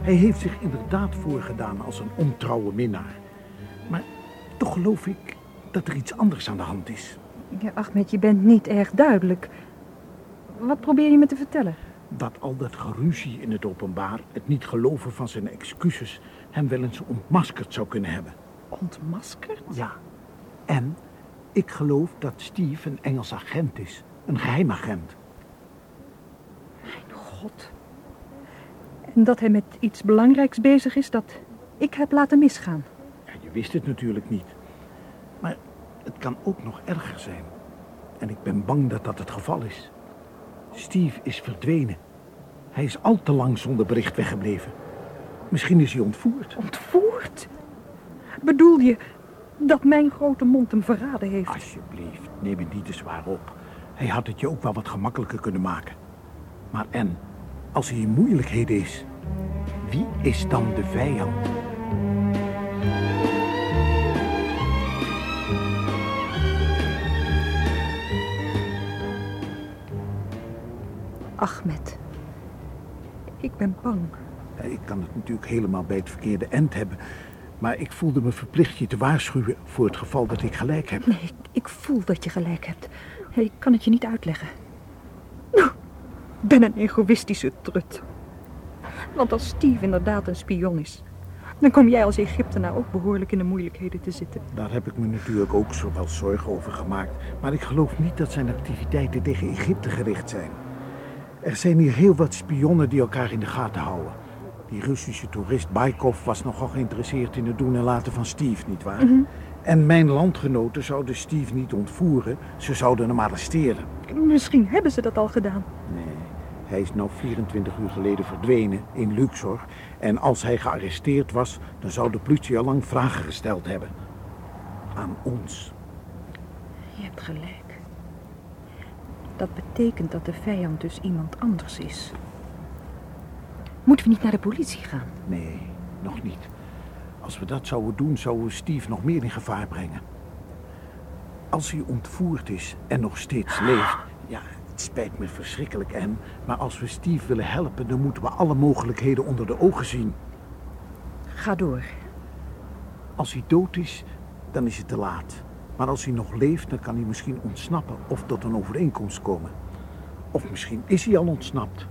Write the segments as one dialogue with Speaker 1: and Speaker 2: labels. Speaker 1: Hij heeft zich inderdaad voorgedaan als een ontrouwe minnaar. Maar toch geloof ik dat er iets anders aan de hand is.
Speaker 2: Ja, Ahmed, je bent niet erg duidelijk. Wat probeer je me te vertellen?
Speaker 1: Dat al dat geruzie in het openbaar, het niet geloven van zijn excuses, hem wel eens ontmaskerd zou kunnen hebben.
Speaker 2: Ontmaskerd?
Speaker 1: Ja. En ik geloof dat Steve een Engels agent is, een geheimagent.
Speaker 2: Mijn god. En dat hij met iets belangrijks bezig is dat ik heb laten misgaan.
Speaker 1: Ja, je wist het natuurlijk niet. Maar het kan ook nog erger zijn. En ik ben bang dat dat het geval is. Steve is verdwenen. Hij is al te lang zonder bericht weggebleven. Misschien is hij ontvoerd.
Speaker 2: Ontvoerd? Bedoel je dat mijn grote mond hem verraden heeft?
Speaker 1: Alsjeblieft, neem het niet te zwaar op. Hij had het je ook wel wat gemakkelijker kunnen maken. Maar en, als hij in moeilijkheden is, wie is dan de vijand?
Speaker 2: Ahmed, ik ben bang.
Speaker 1: Ja, Eh, Ik kan het natuurlijk helemaal bij het verkeerde end hebben. Maar ik voelde me verplicht je te waarschuwen voor het geval dat ik gelijk heb.
Speaker 2: Nee, ik, ik voel dat je gelijk hebt. Ik kan het je niet uitleggen. Nou, Ik ben een egoïstische trut. Want als Steve inderdaad een spion is, dan kom jij als Egyptenaar nou ook behoorlijk in de moeilijkheden te zitten.
Speaker 1: Daar heb ik me natuurlijk ook zo wel zorgen over gemaakt. Maar ik geloof niet dat zijn activiteiten tegen Egypte gericht zijn. Er zijn hier heel wat spionnen die elkaar in de gaten houden. Die Russische toerist Baikov was nogal geïnteresseerd in het doen en laten van Steve, nietwaar? En mijn landgenoten zouden Steve niet ontvoeren, ze zouden hem arresteren.
Speaker 2: Misschien hebben ze dat al gedaan.
Speaker 1: Nee, hij is nou 24 uur geleden verdwenen in Luxor. En als hij gearresteerd was, dan zou de politie al lang vragen gesteld hebben. Aan ons.
Speaker 2: Je hebt gelijk. Dat betekent dat de vijand dus iemand anders is. Moeten we niet naar de politie gaan?
Speaker 1: Nee, nog niet. Als we dat zouden doen, zouden we Steve nog meer in gevaar brengen. Als hij ontvoerd is en nog steeds leeft. Ja, het spijt me verschrikkelijk, Anne. Maar als we Steve willen helpen, dan moeten we alle mogelijkheden onder de ogen zien.
Speaker 2: Ga door.
Speaker 1: Als hij dood is, dan is het te laat. Maar als hij nog leeft, dan kan hij misschien ontsnappen of tot een overeenkomst komen. Of misschien is hij al ontsnapt.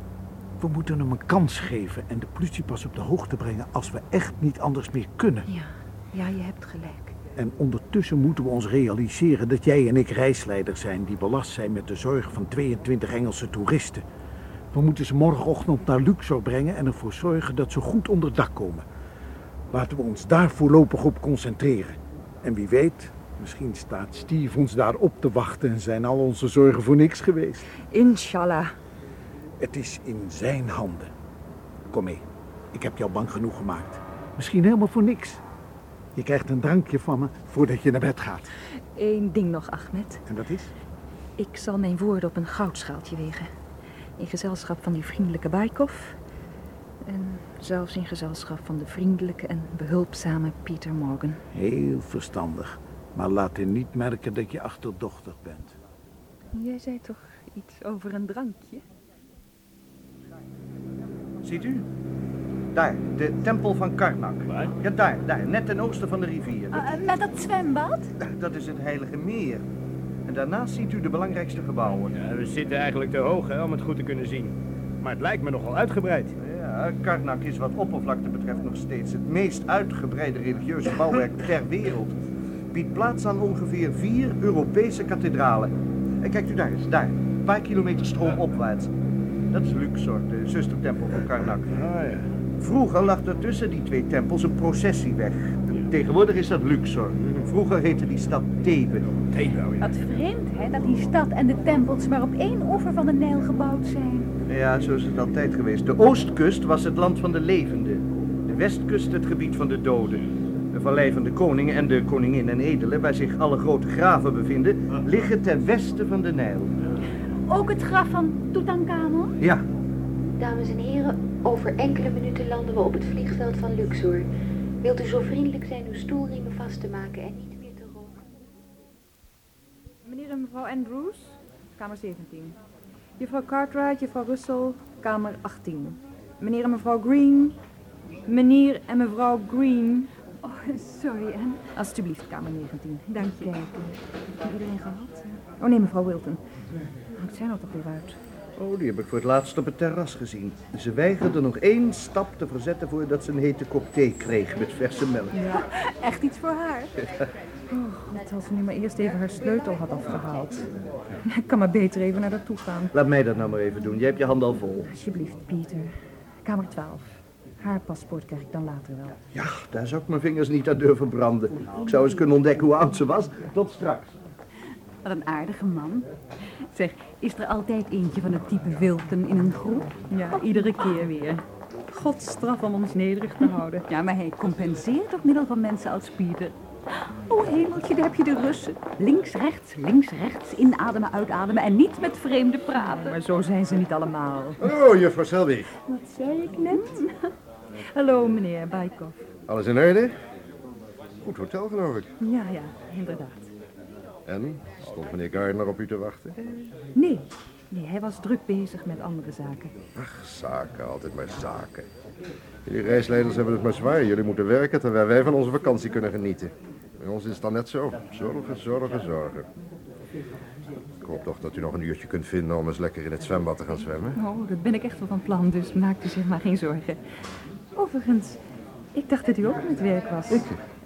Speaker 1: We moeten hem een kans geven en de politie pas op de hoogte brengen als we echt niet anders meer kunnen.
Speaker 2: Ja, ja, je hebt gelijk.
Speaker 1: En ondertussen moeten we ons realiseren dat jij en ik reisleider zijn die belast zijn met de zorg van 22 Engelse toeristen. We moeten ze morgenochtend naar Luxor brengen en ervoor zorgen dat ze goed onder dak komen. Laten we ons daar voorlopig op concentreren. En wie weet, misschien staat Steve ons daar op te wachten en zijn al onze zorgen voor niks geweest.
Speaker 2: Inshallah.
Speaker 1: Het is in zijn handen. Kom mee, ik heb jou bang genoeg gemaakt. Misschien helemaal voor niks. Je krijgt een drankje van me voordat je naar bed gaat.
Speaker 2: Eén ding nog, Ahmed.
Speaker 1: En dat is?
Speaker 2: Ik zal mijn woorden op een goudschaaltje wegen. In gezelschap van die vriendelijke Baikov. En zelfs in gezelschap van de vriendelijke en behulpzame Peter Morgan.
Speaker 1: Heel verstandig. Maar laat hij niet merken dat je achterdochtig bent.
Speaker 2: Jij zei toch iets over een drankje?
Speaker 3: Ziet u? Daar, de tempel van Karnak.
Speaker 4: Waar?
Speaker 3: Ja, daar, daar, net ten oosten van de rivier.
Speaker 5: Eh, met dat zwembad?
Speaker 3: Dat is het Heilige Meer. En daarnaast ziet u de belangrijkste gebouwen.
Speaker 4: Ja, we zitten eigenlijk te hoog hè, om het goed te kunnen zien. Maar het lijkt me nogal uitgebreid.
Speaker 3: Ja, Karnak is wat oppervlakte betreft nog steeds het meest uitgebreide religieuze bouwwerk ter wereld. Biedt plaats aan ongeveer vier Europese kathedralen. En kijkt u daar eens, daar, een paar kilometer stroomopwaarts. Dat is Luxor, de eh, zustertempel van Karnak.
Speaker 4: Ah ja.
Speaker 3: Vroeger lag er tussen die twee tempels een processieweg. Tegenwoordig is dat Luxor. Vroeger heette die stad Thebe.
Speaker 4: Theebouw, ja.
Speaker 5: Wat vreemd, hè, dat die stad en de tempels maar op één oever van de Nijl gebouwd zijn.
Speaker 3: Ja, zo is het altijd geweest. De oostkust was het land van de levenden. De westkust het gebied van de doden. De vallei van de koning en de koningin en edelen, waar zich alle grote graven bevinden, liggen ten westen van de Nijl.
Speaker 5: Ook het graf van Tutankhamon?
Speaker 3: Ja,
Speaker 6: Dames en heren, over enkele minuten landen we op het vliegveld van Luxor. Wilt u zo vriendelijk zijn uw stoelriemen vast te maken en niet meer te roken?
Speaker 7: Meneer en mevrouw Andrews, kamer 17. Juffrouw Cartwright, juffrouw Russell, kamer 18. Meneer en mevrouw Green, meneer en mevrouw Green.
Speaker 5: Oh, sorry, Anne.
Speaker 7: Alsjeblieft, kamer 19.
Speaker 5: Dank je. Kijk, eh, heb je iedereen gehad?
Speaker 7: Oh nee, mevrouw Wilton. Ik zijn al toch weer uit.
Speaker 3: Oh, die heb ik voor het laatst op het terras gezien. Ze weigerde nog één stap te verzetten voordat ze een hete kop thee kreeg met verse melk.
Speaker 5: Echt iets voor haar?
Speaker 7: Oh, God, als ze nu maar eerst even haar sleutel had afgehaald. Ik kan maar beter even naar daartoe gaan.
Speaker 3: Laat mij dat nou maar even doen. Jij hebt je hand al vol.
Speaker 7: Alsjeblieft, Pieter. Kamer 12. Haar paspoort krijg ik dan later wel.
Speaker 3: Ja, daar zou ik mijn vingers niet aan durven branden. Ik zou eens kunnen ontdekken hoe oud ze was. Tot straks.
Speaker 5: Wat een aardige man. Zeg, is er altijd eentje van het type Wilton in een groep? Oh.
Speaker 7: Ja, iedere keer weer. God straf om ons nederig te houden.
Speaker 5: Ja, maar hij compenseert op middel van mensen als Pieter. Oh hemeltje, daar heb je de Russen. Links, rechts, links, rechts. Inademen, uitademen en niet met vreemden praten.
Speaker 7: Maar zo zijn ze niet allemaal. Hmm.
Speaker 8: Hallo, juffrouw Selby.
Speaker 5: Wat zei ik net?
Speaker 7: Hallo, meneer Bajkov.
Speaker 8: Alles in orde? Goed hotel, geloof ik.
Speaker 7: Ja, ja, inderdaad.
Speaker 8: En? Stond meneer Gardner op u te wachten?
Speaker 7: Nee, nee, hij was druk bezig met andere zaken.
Speaker 8: Ach, zaken, altijd maar zaken. Jullie reisleiders hebben het maar zwaar. Jullie moeten werken terwijl wij van onze vakantie kunnen genieten. Bij ons is het dan net zo. Zorgen, zorgen, zorgen. Ik hoop toch dat u nog een uurtje kunt vinden om eens lekker in het zwembad te gaan zwemmen.
Speaker 7: Oh, dat ben ik echt wel van plan, dus maak u zich maar geen zorgen. Overigens, ik dacht dat u ook aan het werk was. Ik?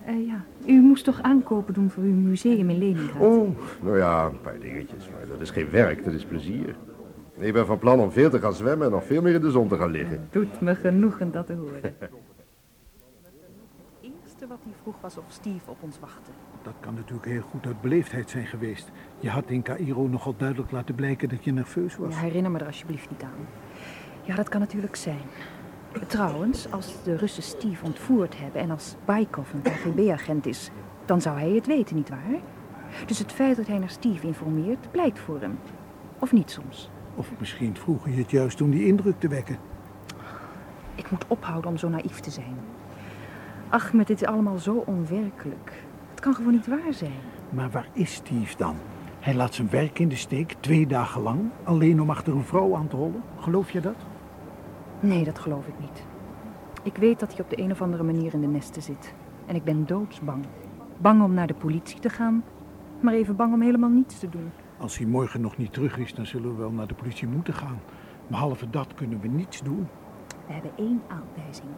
Speaker 2: Eh,
Speaker 7: ja, u moest toch aankopen doen voor uw museum in Leningrad?
Speaker 8: Oh, nou ja, een paar dingetjes. Maar dat is geen werk, dat is plezier. Ik ben van plan om veel te gaan zwemmen en nog veel meer in de zon te gaan liggen.
Speaker 7: Doet me genoegen dat te horen. Het eerste wat hij vroeg was of Steve op ons wachtte.
Speaker 1: Dat kan natuurlijk heel goed uit beleefdheid zijn geweest. Je had in Cairo nogal duidelijk laten blijken dat je nerveus was.
Speaker 2: Ja, herinner me er alsjeblieft niet aan. Ja, dat kan natuurlijk zijn. Trouwens, als de Russen Steve ontvoerd hebben en als Baikov een KGB-agent is, dan zou hij het weten, nietwaar? Dus het feit dat hij naar Steve informeert, pleit voor hem. Of niet soms.
Speaker 1: Of misschien vroeg je het juist om die indruk te wekken.
Speaker 2: Ik moet ophouden om zo naïef te zijn. Ach, met dit is allemaal zo onwerkelijk. Het kan gewoon niet waar zijn.
Speaker 1: Maar waar is Steve dan? Hij laat zijn werk in de steek, twee dagen lang, alleen om achter een vrouw aan te hollen. Geloof je dat?
Speaker 2: Nee, dat geloof ik niet. Ik weet dat hij op de een of andere manier in de nesten zit. En ik ben doodsbang. Bang om naar de politie te gaan, maar even bang om helemaal niets te doen.
Speaker 1: Als hij morgen nog niet terug is, dan zullen we wel naar de politie moeten gaan. Behalve dat kunnen we niets doen.
Speaker 2: We hebben één aanwijzing.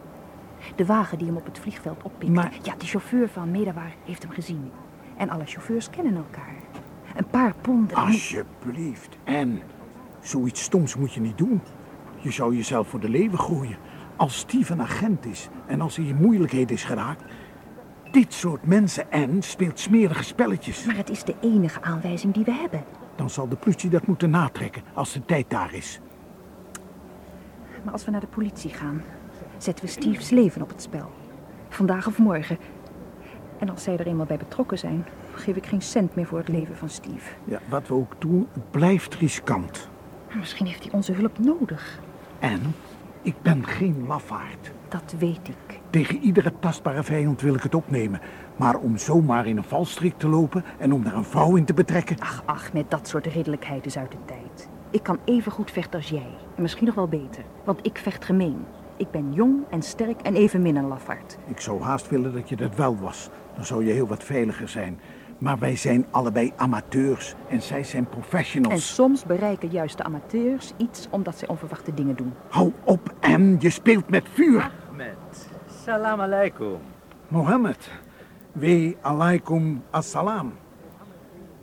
Speaker 2: De wagen die hem op het vliegveld oppikte.
Speaker 1: Maar-
Speaker 2: Ja, die chauffeur van Medawar heeft hem gezien. En alle chauffeurs kennen elkaar. Een paar ponden.
Speaker 1: Alsjeblieft. En zoiets stoms moet je niet doen. Je zou jezelf voor de leeuwen gooien. Als Steve een agent is en als hij in moeilijkheden is geraakt. Dit soort mensen en speelt smerige spelletjes.
Speaker 2: Maar het is de enige aanwijzing die we hebben.
Speaker 1: Dan zal de politie dat moeten natrekken als de tijd daar is.
Speaker 2: Maar als we naar de politie gaan, zetten we Steve's leven op het spel. Vandaag of morgen. En als zij er eenmaal bij betrokken zijn, geef ik geen cent meer voor het leven van Steve.
Speaker 1: Ja, wat we ook doen, het blijft riskant.
Speaker 2: Maar misschien heeft hij onze hulp nodig.
Speaker 1: En ik ben geen lafaard.
Speaker 2: Dat weet ik.
Speaker 1: Tegen iedere tastbare vijand wil ik het opnemen. Maar om zomaar in een valstrik te lopen en om daar een vrouw in te betrekken.
Speaker 2: Ach, ach, met dat soort redelijkheid is uit de tijd. Ik kan even goed vechten als jij. En misschien nog wel beter. Want ik vecht gemeen. Ik ben jong en sterk en evenmin een lafaard.
Speaker 1: Ik zou haast willen dat je dat wel was. Dan zou je heel wat veiliger zijn. Maar wij zijn allebei amateurs en zij zijn
Speaker 2: En
Speaker 1: professionals.
Speaker 2: soms bereiken juist de amateurs iets omdat zij onverwachte dingen doen.
Speaker 1: Hou op en je speelt met vuur.
Speaker 9: Ahmed, salam alaikum.
Speaker 1: Mohammed, we alaikum assalam.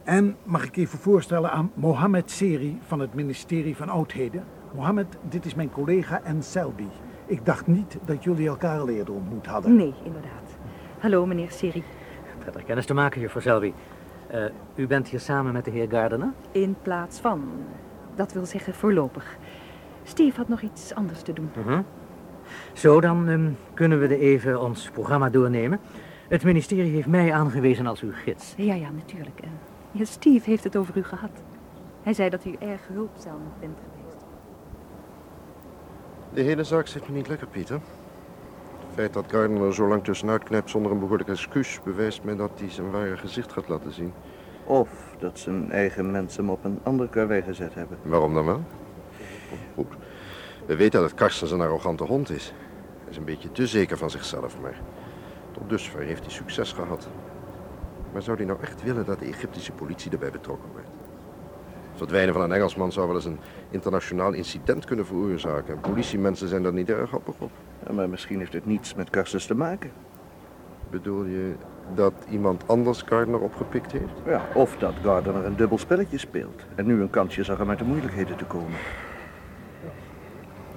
Speaker 1: En mag ik even voorstellen aan Mohammed Seri van het ministerie van Oudheden. Mohammed, dit is mijn collega en Selby. Ik dacht niet dat jullie elkaar al eerder ontmoet hadden.
Speaker 2: Nee, inderdaad. Hallo, meneer Siri.
Speaker 9: Prettig kennis te maken, juffrouw Selby. Eh, u bent hier samen met de heer Gardner?
Speaker 2: In plaats van. Dat wil zeggen voorlopig. Steve had nog iets anders te doen.
Speaker 9: Zo, dan ehm, kunnen we de even ons programma doornemen. Het ministerie heeft mij aangewezen als uw gids.
Speaker 2: Ja, ja, natuurlijk. eh. Ja, Steve heeft het over u gehad. Hij zei dat u erg hulpzaam bent geweest.
Speaker 8: De hele zaak zit me niet lekker, Pieter. Het feit dat Gardner zo lang tussenuit knijpt zonder een behoorlijk excuus... bewijst mij dat hij zijn ware gezicht gaat laten zien.
Speaker 3: Of dat zijn eigen mensen hem op een ander karwei gezet hebben.
Speaker 8: Waarom dan wel? Goed. We weten dat Karsten een arrogante hond is. Hij is een beetje te zeker van zichzelf, maar tot dusver heeft hij succes gehad. Maar zou hij nou echt willen dat de Egyptische politie erbij betrokken wordt? Het verdwijnen van een Engelsman zou wel eens een internationaal incident kunnen veroorzaken. En politiemensen zijn daar niet erg happig op.
Speaker 3: Ja, maar misschien heeft het niets met Karstens te maken.
Speaker 8: Bedoel je dat iemand anders Gardner opgepikt heeft?
Speaker 3: Ja, of dat Gardner een dubbel spelletje speelt en nu een kansje zag hem uit de moeilijkheden te komen.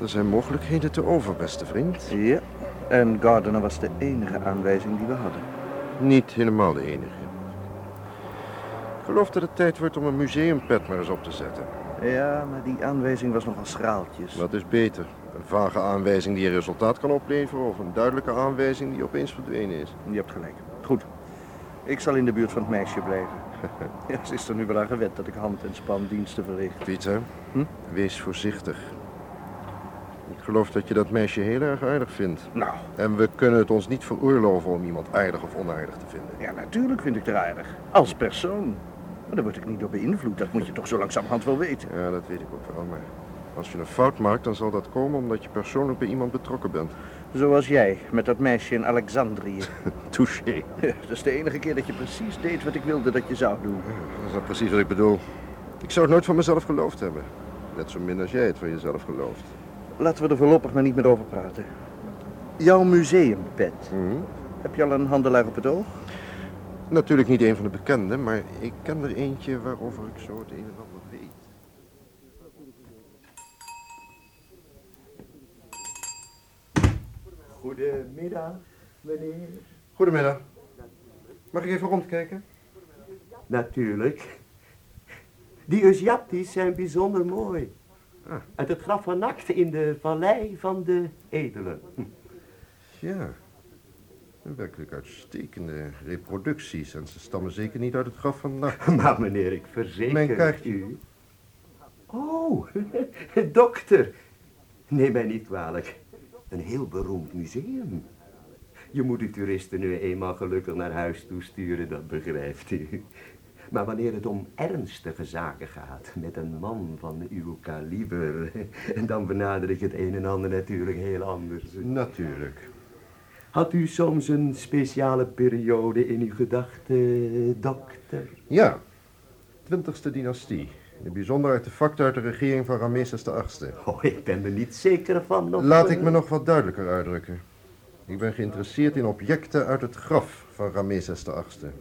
Speaker 8: Er zijn mogelijkheden te over, beste vriend.
Speaker 3: Ja, en Gardner was de enige aanwijzing die we hadden.
Speaker 8: Niet helemaal de enige. Ik geloof dat het tijd wordt om een museumpet maar eens op te zetten.
Speaker 3: Ja, maar die aanwijzing was nogal schraaltjes.
Speaker 8: Dat is beter. Een vage aanwijzing die een resultaat kan opleveren of een duidelijke aanwijzing die opeens verdwenen is.
Speaker 3: Je hebt gelijk. Goed. Ik zal in de buurt van het meisje blijven. ja, ze is er nu wel aan gewend dat ik hand- en spandiensten verricht.
Speaker 8: Pieter,
Speaker 3: Hm?
Speaker 8: wees voorzichtig. Ik geloof dat je dat meisje heel erg aardig vindt.
Speaker 3: Nou,
Speaker 8: En we kunnen het ons niet veroorloven om iemand aardig of onaardig te vinden.
Speaker 3: ja, natuurlijk vind ik haar aardig. Als persoon. Maar daar word ik niet door beïnvloed. Dat moet je toch zo langzamerhand wel weten.
Speaker 8: Ja, dat weet ik ook wel, maar als je een fout maakt, dan zal dat komen omdat je persoonlijk bij iemand betrokken bent.
Speaker 3: Zoals jij met dat meisje in Alexandrië.
Speaker 8: Touché.
Speaker 3: Ja, dat is de enige keer dat je precies deed wat ik wilde dat je zou doen.
Speaker 8: Dat is nou precies wat ik bedoel. Ik zou het nooit van mezelf geloofd hebben. Net zo min als jij het van jezelf gelooft.
Speaker 3: Laten we er voorlopig maar niet meer over praten. Jouw museumpet.
Speaker 8: Mhm.
Speaker 3: Heb je al een handelaar op het oog?
Speaker 8: Natuurlijk niet een van de bekenden, maar ik ken er eentje waarover ik zo het een en ander weet.
Speaker 10: Goedemiddag, meneer.
Speaker 8: Goedemiddag. Mag ik even rondkijken?
Speaker 10: Natuurlijk. Die Uziaptis zijn bijzonder mooi. Uit het graf van Nacht in de vallei van de Edelen.
Speaker 8: Ja. Een werkelijk uitstekende reproducties en ze stammen zeker niet uit het graf van nacht.
Speaker 10: Maar Nou, meneer, ik verzeker
Speaker 8: Mijn kaartje.
Speaker 10: u. Oh, dokter. Neem mij niet kwalijk. Een heel beroemd museum. Je moet de toeristen nu eenmaal gelukkig naar huis toesturen, dat begrijpt u. Maar wanneer het om ernstige zaken gaat, met een man van uw kaliber, dan benader ik het een en ander natuurlijk heel anders.
Speaker 8: Natuurlijk.
Speaker 10: Had u soms een speciale periode in uw gedachten, dokter?
Speaker 8: Ja. 20e dynastie. In het bijzonder artefact uit de regering van Ramses VIII.
Speaker 10: Oh, ik ben er niet zeker van. Of
Speaker 8: Laat ik
Speaker 10: eh,
Speaker 8: me nog wat duidelijker uitdrukken. Ik ben geïnteresseerd in objecten uit het graf van Ramses VIII.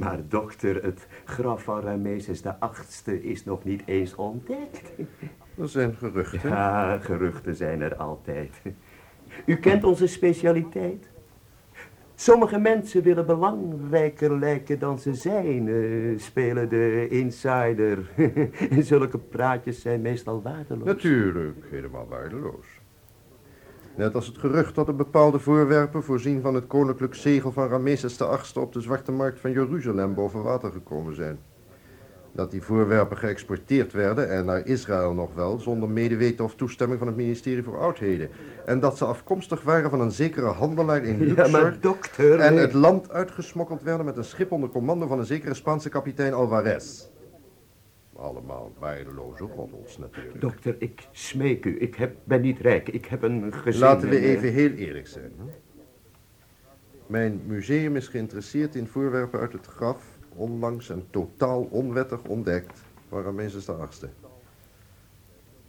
Speaker 10: Maar dokter, het graf van Rameses de achtste is nog niet eens ontdekt.
Speaker 8: Er zijn geruchten.
Speaker 10: Ja, geruchten zijn er altijd. U kent onze specialiteit. Sommige mensen willen belangrijker lijken dan ze zijn, eh, spelen de insider. En zulke praatjes zijn meestal waardeloos.
Speaker 8: Natuurlijk, helemaal waardeloos. Net als het gerucht dat er bepaalde voorwerpen voorzien van het koninklijk zegel van Ramses VIII op de zwarte markt van Jeruzalem boven water gekomen zijn. Dat die voorwerpen geëxporteerd werden en naar Israël nog wel, zonder medeweten of toestemming van het ministerie voor Oudheden. En dat ze afkomstig waren van een zekere handelaar in
Speaker 10: Ja,
Speaker 8: Luxor.
Speaker 10: maar dokter...
Speaker 8: En
Speaker 10: eh,
Speaker 8: het land uitgesmokkeld werden met een schip onder commando van een zekere Spaanse kapitein Alvarez. Allemaal waardeloze roddels natuurlijk.
Speaker 10: Dokter, ik smeek u. Ik heb, ben niet rijk. Ik heb een gezin.
Speaker 8: Laten we
Speaker 10: en, eh,
Speaker 8: even heel eerlijk zijn. hè? Mijn museum is geïnteresseerd in voorwerpen uit het graf, onlangs en totaal onwettig ontdekt, van Ramses de achtste.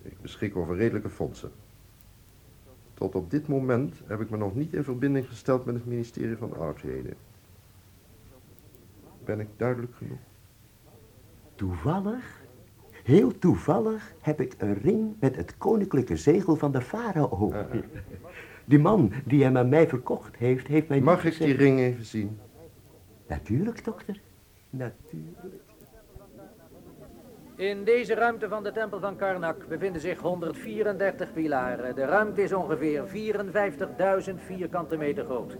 Speaker 8: Ik beschik over redelijke fondsen. Tot op dit moment heb ik me nog niet in verbinding gesteld met het ministerie van Oudheden. Ben ik duidelijk genoeg?
Speaker 10: Toevallig, heel toevallig, heb ik een ring met het koninklijke zegel van de farao.
Speaker 8: Eh,
Speaker 10: Die man die hem aan mij verkocht heeft, heeft mij...
Speaker 8: Mag
Speaker 10: niet
Speaker 8: ik die
Speaker 10: gezegd-
Speaker 8: ring even zien?
Speaker 10: Natuurlijk, dokter. Natuurlijk.
Speaker 9: In deze ruimte van de tempel van Karnak bevinden zich 134 pilaren. De ruimte is ongeveer 54.000 vierkante meter groot.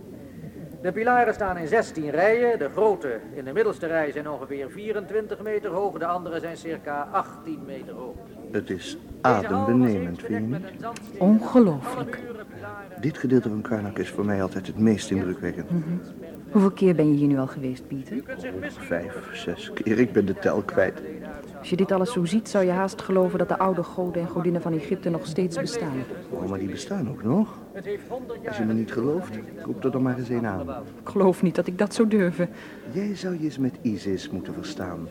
Speaker 9: De pilaren staan in 16 rijen. De grote in de middelste rij zijn ongeveer 24 meter hoog. De andere zijn circa 18 meter hoog.
Speaker 3: oh, Het is adembenemend, vind je niet?
Speaker 7: Ongelooflijk.
Speaker 3: Dit gedeelte van Karnak is voor mij altijd het meest indrukwekkend.
Speaker 2: Hoeveel keer ben je hier nu al geweest, Pieter?
Speaker 3: Vijf, zes keer. Ik ben de tel kwijt.
Speaker 2: Als je dit alles zo ziet, zou je haast geloven dat de oude goden en godinnen van Egypte nog steeds bestaan.
Speaker 3: Oh, maar die bestaan ook nog. Als je me niet gelooft, roep er dan maar eens een aan.
Speaker 2: Ik geloof niet dat ik dat zou durven.
Speaker 3: Jij zou je eens met Isis moeten verstaan.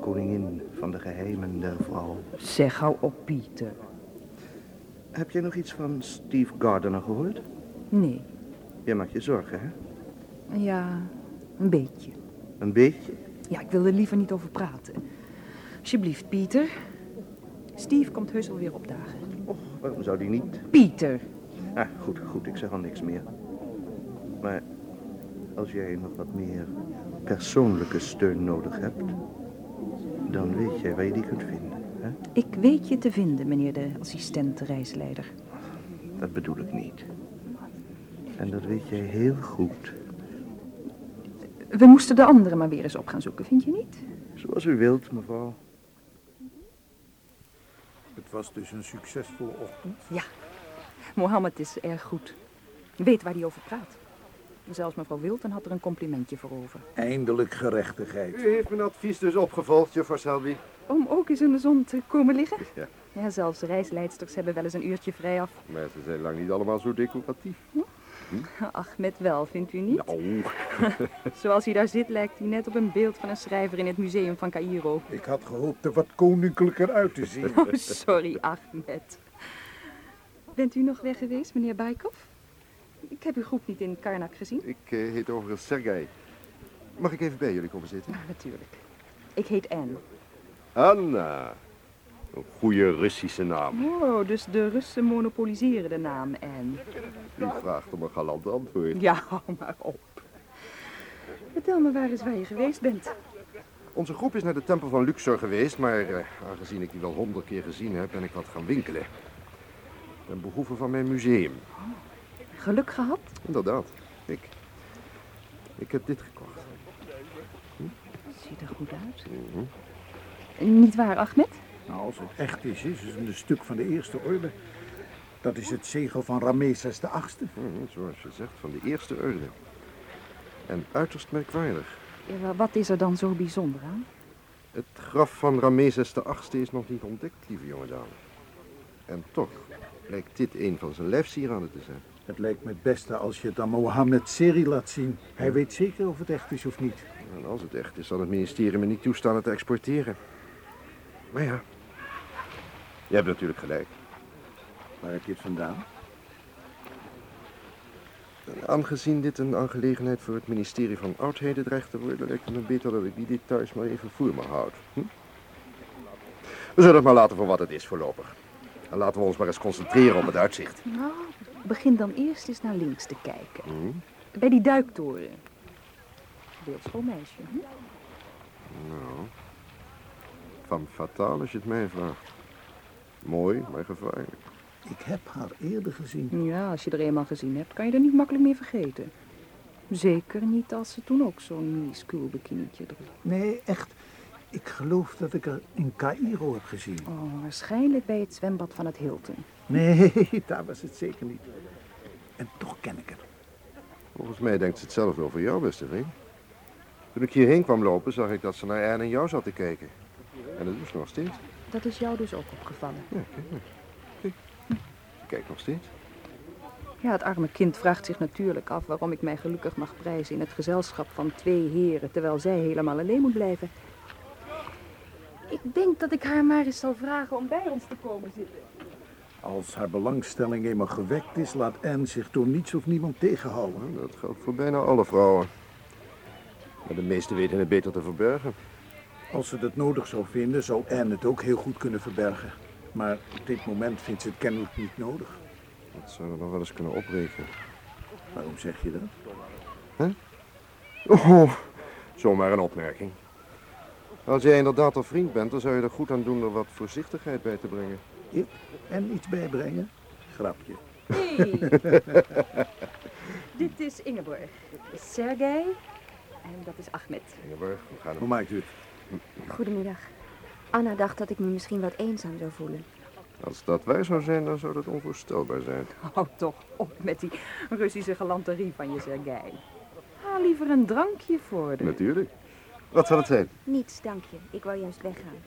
Speaker 3: Koningin van de geheimen der vrouw.
Speaker 2: Zeg, hou op, Pieter.
Speaker 3: Heb jij nog iets van Steve Gardner gehoord?
Speaker 2: Nee.
Speaker 3: Jij maakt je zorgen, hè?
Speaker 2: Ja, een beetje.
Speaker 3: Een beetje?
Speaker 2: Ja, ik wil er liever niet over praten. Alsjeblieft, Pieter. Steve komt heus alweer opdagen.
Speaker 3: Waarom zou die niet?
Speaker 2: Pieter.
Speaker 3: Ah, goed, goed, ik zeg al niks meer. Maar als jij nog wat meer persoonlijke steun nodig hebt, dan weet jij waar je die kunt vinden. Hè?
Speaker 2: Ik weet je te vinden, meneer de assistent reisleider.
Speaker 3: Dat bedoel ik niet. En dat weet jij heel goed.
Speaker 2: We moesten de anderen maar weer eens op gaan zoeken, vind je niet?
Speaker 3: Zoals u wilt, mevrouw.
Speaker 1: Het was dus een succesvolle ochtend.
Speaker 2: Ja. Mohammed is erg goed. Weet waar hij over praat. Zelfs mevrouw Wilton had er een complimentje voor over.
Speaker 1: Eindelijk gerechtigheid.
Speaker 8: U heeft mijn advies dus opgevolgd, juffrouw Selby.
Speaker 2: Om ook eens in de zon te komen liggen?
Speaker 8: Ja.
Speaker 2: Ja, zelfs reisleidsters hebben wel eens een uurtje vrij af.
Speaker 8: Maar ze zijn lang niet allemaal zo decoratief.
Speaker 2: Ach, met wel, vindt u niet?
Speaker 8: Nou.
Speaker 2: Zoals hij daar zit, lijkt hij net op een beeld van een schrijver in het museum van Cairo.
Speaker 1: Ik had gehoopt er wat koninklijker uit te zien.
Speaker 2: Oh, sorry, Ahmed. Bent u nog weg geweest, meneer Baikov? Ik heb uw groep niet in Karnak gezien.
Speaker 8: Ik eh, heet overigens Sergei. Mag ik even bij jullie komen zitten?
Speaker 2: natuurlijk. Ik heet Anne.
Speaker 8: Anna. Een goede Russische naam.
Speaker 2: Oh, dus de Russen monopoliseren de naam Anne.
Speaker 8: U vraagt om een galant antwoord.
Speaker 2: Ja, hou maar op. Vertel me waar eens waar je geweest bent.
Speaker 8: Onze groep is naar de tempel van Luxor geweest, maar eh, aangezien ik die wel honderd keer gezien heb, ben ik wat gaan winkelen. Ten behoeve van mijn museum.
Speaker 2: Geluk gehad?
Speaker 8: Inderdaad. Ik, ik heb dit gekocht.
Speaker 2: Ziet er goed uit.
Speaker 8: Mhm.
Speaker 2: Niet waar, Ahmed?
Speaker 1: Nou, als het echt is, is het een stuk van de eerste orde. Dat is het zegel van Rameses de Achtste.
Speaker 8: Mm, zoals je zegt, van de eerste orde. En uiterst merkwaardig.
Speaker 2: Ja, wa- Wat is er dan zo bijzonder aan?
Speaker 8: Het graf van Rameses VIII is nog niet ontdekt, lieve jonge dame. En toch lijkt dit een van zijn lijfsieraden te zijn.
Speaker 1: Het lijkt me het beste als je het aan Mohammed Seri laat zien. Hij weet zeker of het echt is of niet.
Speaker 8: En als het echt is, zal het ministerie me niet toestaan het te exporteren. Maar ja, je hebt natuurlijk gelijk.
Speaker 1: Waar heb je het vandaan?
Speaker 8: Aangezien dit een aangelegenheid voor het ministerie van Oudheden dreigt te worden, lijkt het me beter dat ik die details maar even voor me houd. Hm? We zullen het maar laten voor wat het is voorlopig. En laten we ons maar eens concentreren op het uitzicht.
Speaker 2: Nou, begin dan eerst eens naar links te kijken.
Speaker 8: Hm?
Speaker 2: Bij die duiktoren. Beeldschoon meisje. Hm?
Speaker 8: Nou, van fataal als je het mij vraagt. Mooi, maar gevaarlijk.
Speaker 1: Ik heb haar eerder gezien.
Speaker 2: Ja, als je er eenmaal gezien hebt, kan je er niet makkelijk meer vergeten. Zeker niet als ze toen ook zo'n minuscuul bikinietje droeg.
Speaker 1: Nee, echt. Ik geloof dat ik haar in Cairo heb gezien.
Speaker 2: Oh, waarschijnlijk bij het zwembad van het Hilton.
Speaker 1: Nee, daar was het zeker niet. En toch ken ik het.
Speaker 8: Volgens mij denkt ze hetzelfde over jou, beste vriend. Toen ik hierheen kwam lopen, zag ik dat ze naar Anne en jou zat te kijken. En dat doet ze nog steeds.
Speaker 2: Dat is jou dus ook opgevallen.
Speaker 8: Ja, kijk maar. Kijk. Ze kijkt nog steeds.
Speaker 2: Ja, het arme kind vraagt zich natuurlijk af waarom ik mij gelukkig mag prijzen in het gezelschap van twee heren, terwijl zij helemaal alleen moet blijven. Ik denk dat ik haar maar eens zal vragen om bij ons te komen zitten.
Speaker 1: Als haar belangstelling eenmaal gewekt is, laat Anne zich door niets of niemand tegenhouden.
Speaker 8: Dat geldt voor bijna alle vrouwen. Maar de meesten weten het beter te verbergen.
Speaker 1: Als ze dat nodig zou vinden, zou Anne het ook heel goed kunnen verbergen. Maar op dit moment vindt ze het kennelijk niet nodig.
Speaker 8: Dat zou er nog wel eens kunnen oprekenen.
Speaker 1: Waarom zeg je dat?
Speaker 8: Oh, zomaar een opmerking. Als jij inderdaad een vriend bent, dan zou je er goed aan doen er wat voorzichtigheid bij te brengen.
Speaker 1: Ik? En iets bijbrengen? Grapje.
Speaker 2: Dit is Ingeborg, Sergej en dat is Ahmed.
Speaker 8: Ingeborg, we gaan
Speaker 1: Hoe maakt u het?
Speaker 11: Goedemiddag. Anna dacht dat ik me misschien wat eenzaam zou voelen.
Speaker 8: Als dat wij zou zijn, dan zou dat onvoorstelbaar zijn.
Speaker 2: Hou toch op met die Russische galanterie van je, Sergei. Haal liever een drankje voor de...
Speaker 8: Natuurlijk. Wat zal het zijn?
Speaker 12: Niets, dank je. Ik wou juist weggaan.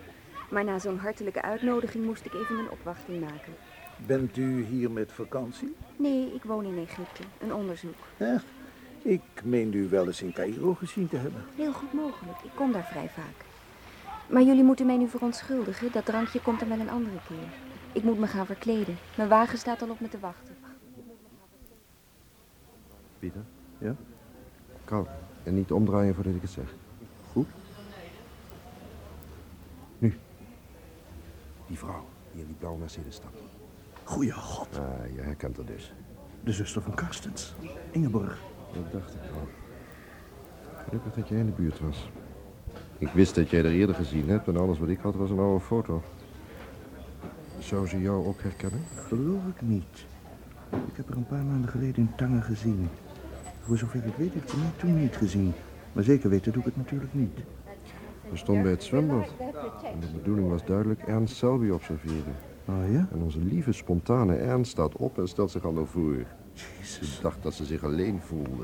Speaker 12: Maar na zo'n hartelijke uitnodiging moest ik even een opwachting maken.
Speaker 1: Bent u hier met vakantie?
Speaker 12: Nee, ik woon in Egypte. Een onderzoek.
Speaker 1: Echt? Ik meen u wel eens in Cairo gezien te hebben.
Speaker 12: Heel goed mogelijk. Ik kom daar vrij vaak. Maar jullie moeten mij nu verontschuldigen. Dat drankje komt dan wel een andere keer. Ik moet me gaan verkleden. Mijn wagen staat al op me te wachten.
Speaker 8: Pieter? Ja? Kalm. En niet omdraaien voordat ik het zeg. Goed? Nu. Die vrouw die in die blauwe Mercedes stapt.
Speaker 1: Goeie god.
Speaker 8: Ah, je herkent haar dus.
Speaker 1: De zuster van Karstens. Ingeborg.
Speaker 8: Dat dacht ik al. Gelukkig dat jij in de buurt was. Ik wist dat jij er eerder gezien hebt en alles wat ik had was een oude foto. Zou ze jou ook herkennen?
Speaker 13: Geloof ik niet. Ik heb haar een paar maanden geleden in Tangen gezien. Voor zover ik weet, heb ik ze niet toen niet gezien. Maar zeker weten doe ik het natuurlijk niet.
Speaker 8: We stonden bij het zwembad. En de bedoeling was duidelijk Ernst Selby observeren.
Speaker 13: Oh ja?
Speaker 8: En onze lieve, spontane Ernst staat op en stelt zich aan haar voor. Ze dacht dat ze zich alleen voelde.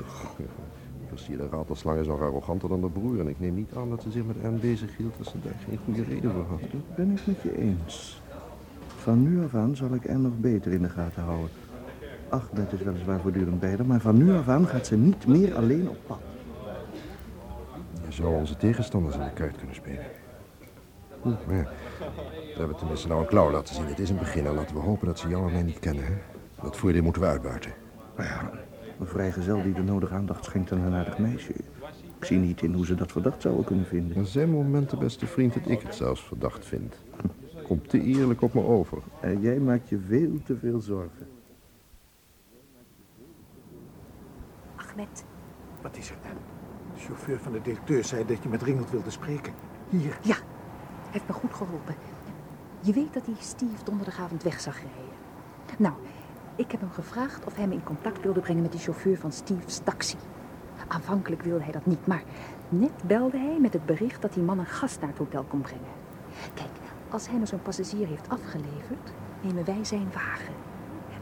Speaker 8: Precies, de ratelslang is nog arroganter dan de broer. En ik neem niet aan dat ze zich met Ernst bezig hield als ze daar geen goede reden voor had.
Speaker 13: Dat ben ik met je eens. Van nu af aan zal ik Anne nog beter in de gaten houden. Ahmed is weliswaar voortdurend bij haar, maar van nu af aan gaat ze niet meer alleen op pad.
Speaker 8: Je zou onze tegenstanders in de kuit kunnen spelen. Oeh, maar ja, we hebben tenminste nou een klauw laten zien. Het is een begin en laten we hopen dat ze jou en mij niet kennen. Hè? Dat voordeel moeten we uitbuiten.
Speaker 13: Nou ja, een vrijgezel die de nodige aandacht schenkt aan een aardig meisje. Ik zie niet in hoe ze dat verdacht zouden kunnen vinden.
Speaker 8: Er zijn momenten, beste vriend, dat ik het zelfs verdacht vind. Komt te eerlijk op me over.
Speaker 13: En Eh, jij maakt je veel te veel zorgen.
Speaker 12: Ahmed,
Speaker 1: Wat is er, Anne? De chauffeur van de directeur zei dat je met Ringeld wilde spreken. Hier.
Speaker 2: Ja, heeft me goed geholpen. Je weet dat hij Steve donderdagavond weg zag rijden. Nou, ik heb hem gevraagd of hij me in contact wilde brengen met de chauffeur van Steve's taxi. Aanvankelijk wilde hij dat niet, maar net belde hij met het bericht dat die man een gast naar het hotel kon brengen. Kijk, als hij me zo'n passagier heeft afgeleverd, nemen wij zijn wagen.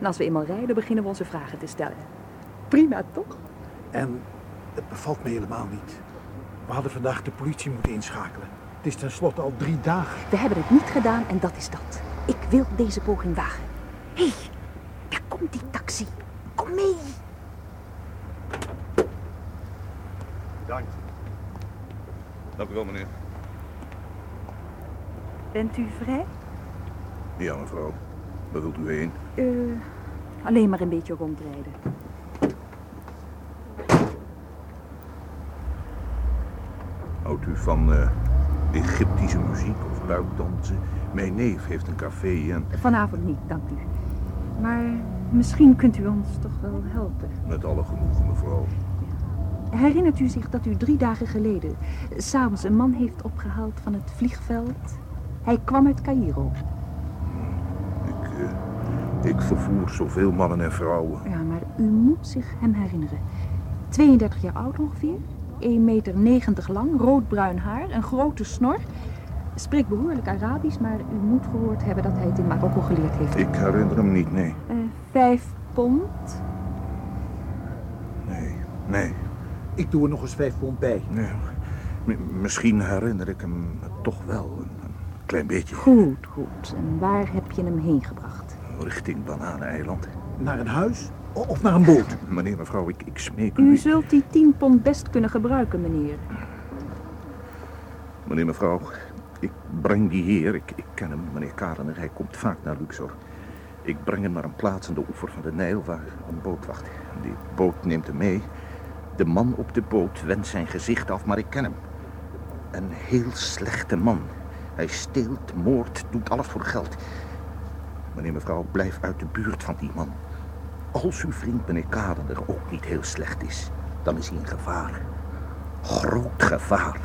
Speaker 2: En als we eenmaal rijden, beginnen we onze vragen te stellen. Prima, toch?
Speaker 1: En het bevalt me helemaal niet. We hadden vandaag de politie moeten inschakelen. Het is tenslotte al drie dagen.
Speaker 2: We hebben het niet gedaan en dat is dat. Ik wil deze poging wagen. Hé, hey, daar komt die taxi. Kom mee.
Speaker 3: Dank. Dank u wel, meneer.
Speaker 14: Bent u vrij?
Speaker 3: Ja, mevrouw. Waar wilt u heen?
Speaker 14: Eh,
Speaker 2: alleen maar een beetje rondrijden.
Speaker 3: Houdt u van eh, Egyptische muziek of buikdansen? Mijn neef heeft een café en
Speaker 14: Vanavond niet, dank u. Maar misschien kunt u ons toch wel helpen.
Speaker 3: met alle genoegen, mevrouw.
Speaker 14: Herinnert u zich dat u drie dagen geleden eh, s'avonds een man heeft opgehaald van het vliegveld? Hij kwam uit Cairo.
Speaker 3: Ik, eh, ik vervoer zoveel mannen en vrouwen.
Speaker 14: Ja, maar u moet zich hem herinneren. 32 jaar oud ongeveer, 1,90 meter lang, roodbruin haar, een grote snor. Spreekt behoorlijk Arabisch, maar u moet gehoord hebben dat hij het in Marokko geleerd heeft.
Speaker 3: Ik herinner hem niet, nee.
Speaker 14: Eh, vijf pond.
Speaker 3: Nee.
Speaker 1: Ik doe er nog eens vijf pond bij.
Speaker 3: Nee. M- misschien herinner ik hem toch wel een, een klein beetje.
Speaker 14: Goed, goed. En waar heb je hem heen gebracht?
Speaker 3: Richting Bananeneiland.
Speaker 1: Naar een huis of naar een boot?
Speaker 3: Meneer, mevrouw, ik, ik smeek u.
Speaker 14: U zult die 10 pond best kunnen gebruiken, meneer.
Speaker 3: Meneer, mevrouw, ik breng die heer. Ik, ik ken hem, meneer Karener. Hij komt vaak naar Luxor. Ik breng hem naar een plaats aan de oever van de Nijl waar een boot wacht. Die boot neemt hem mee. De man op de boot wendt zijn gezicht af, maar ik ken hem. Een heel slechte man. Hij steelt, moordt, doet alles voor geld. Meneer, mevrouw, blijf uit de buurt van die man. Als uw vriend, meneer Karener, ook niet heel slecht is, dan is hij in gevaar. Groot gevaar.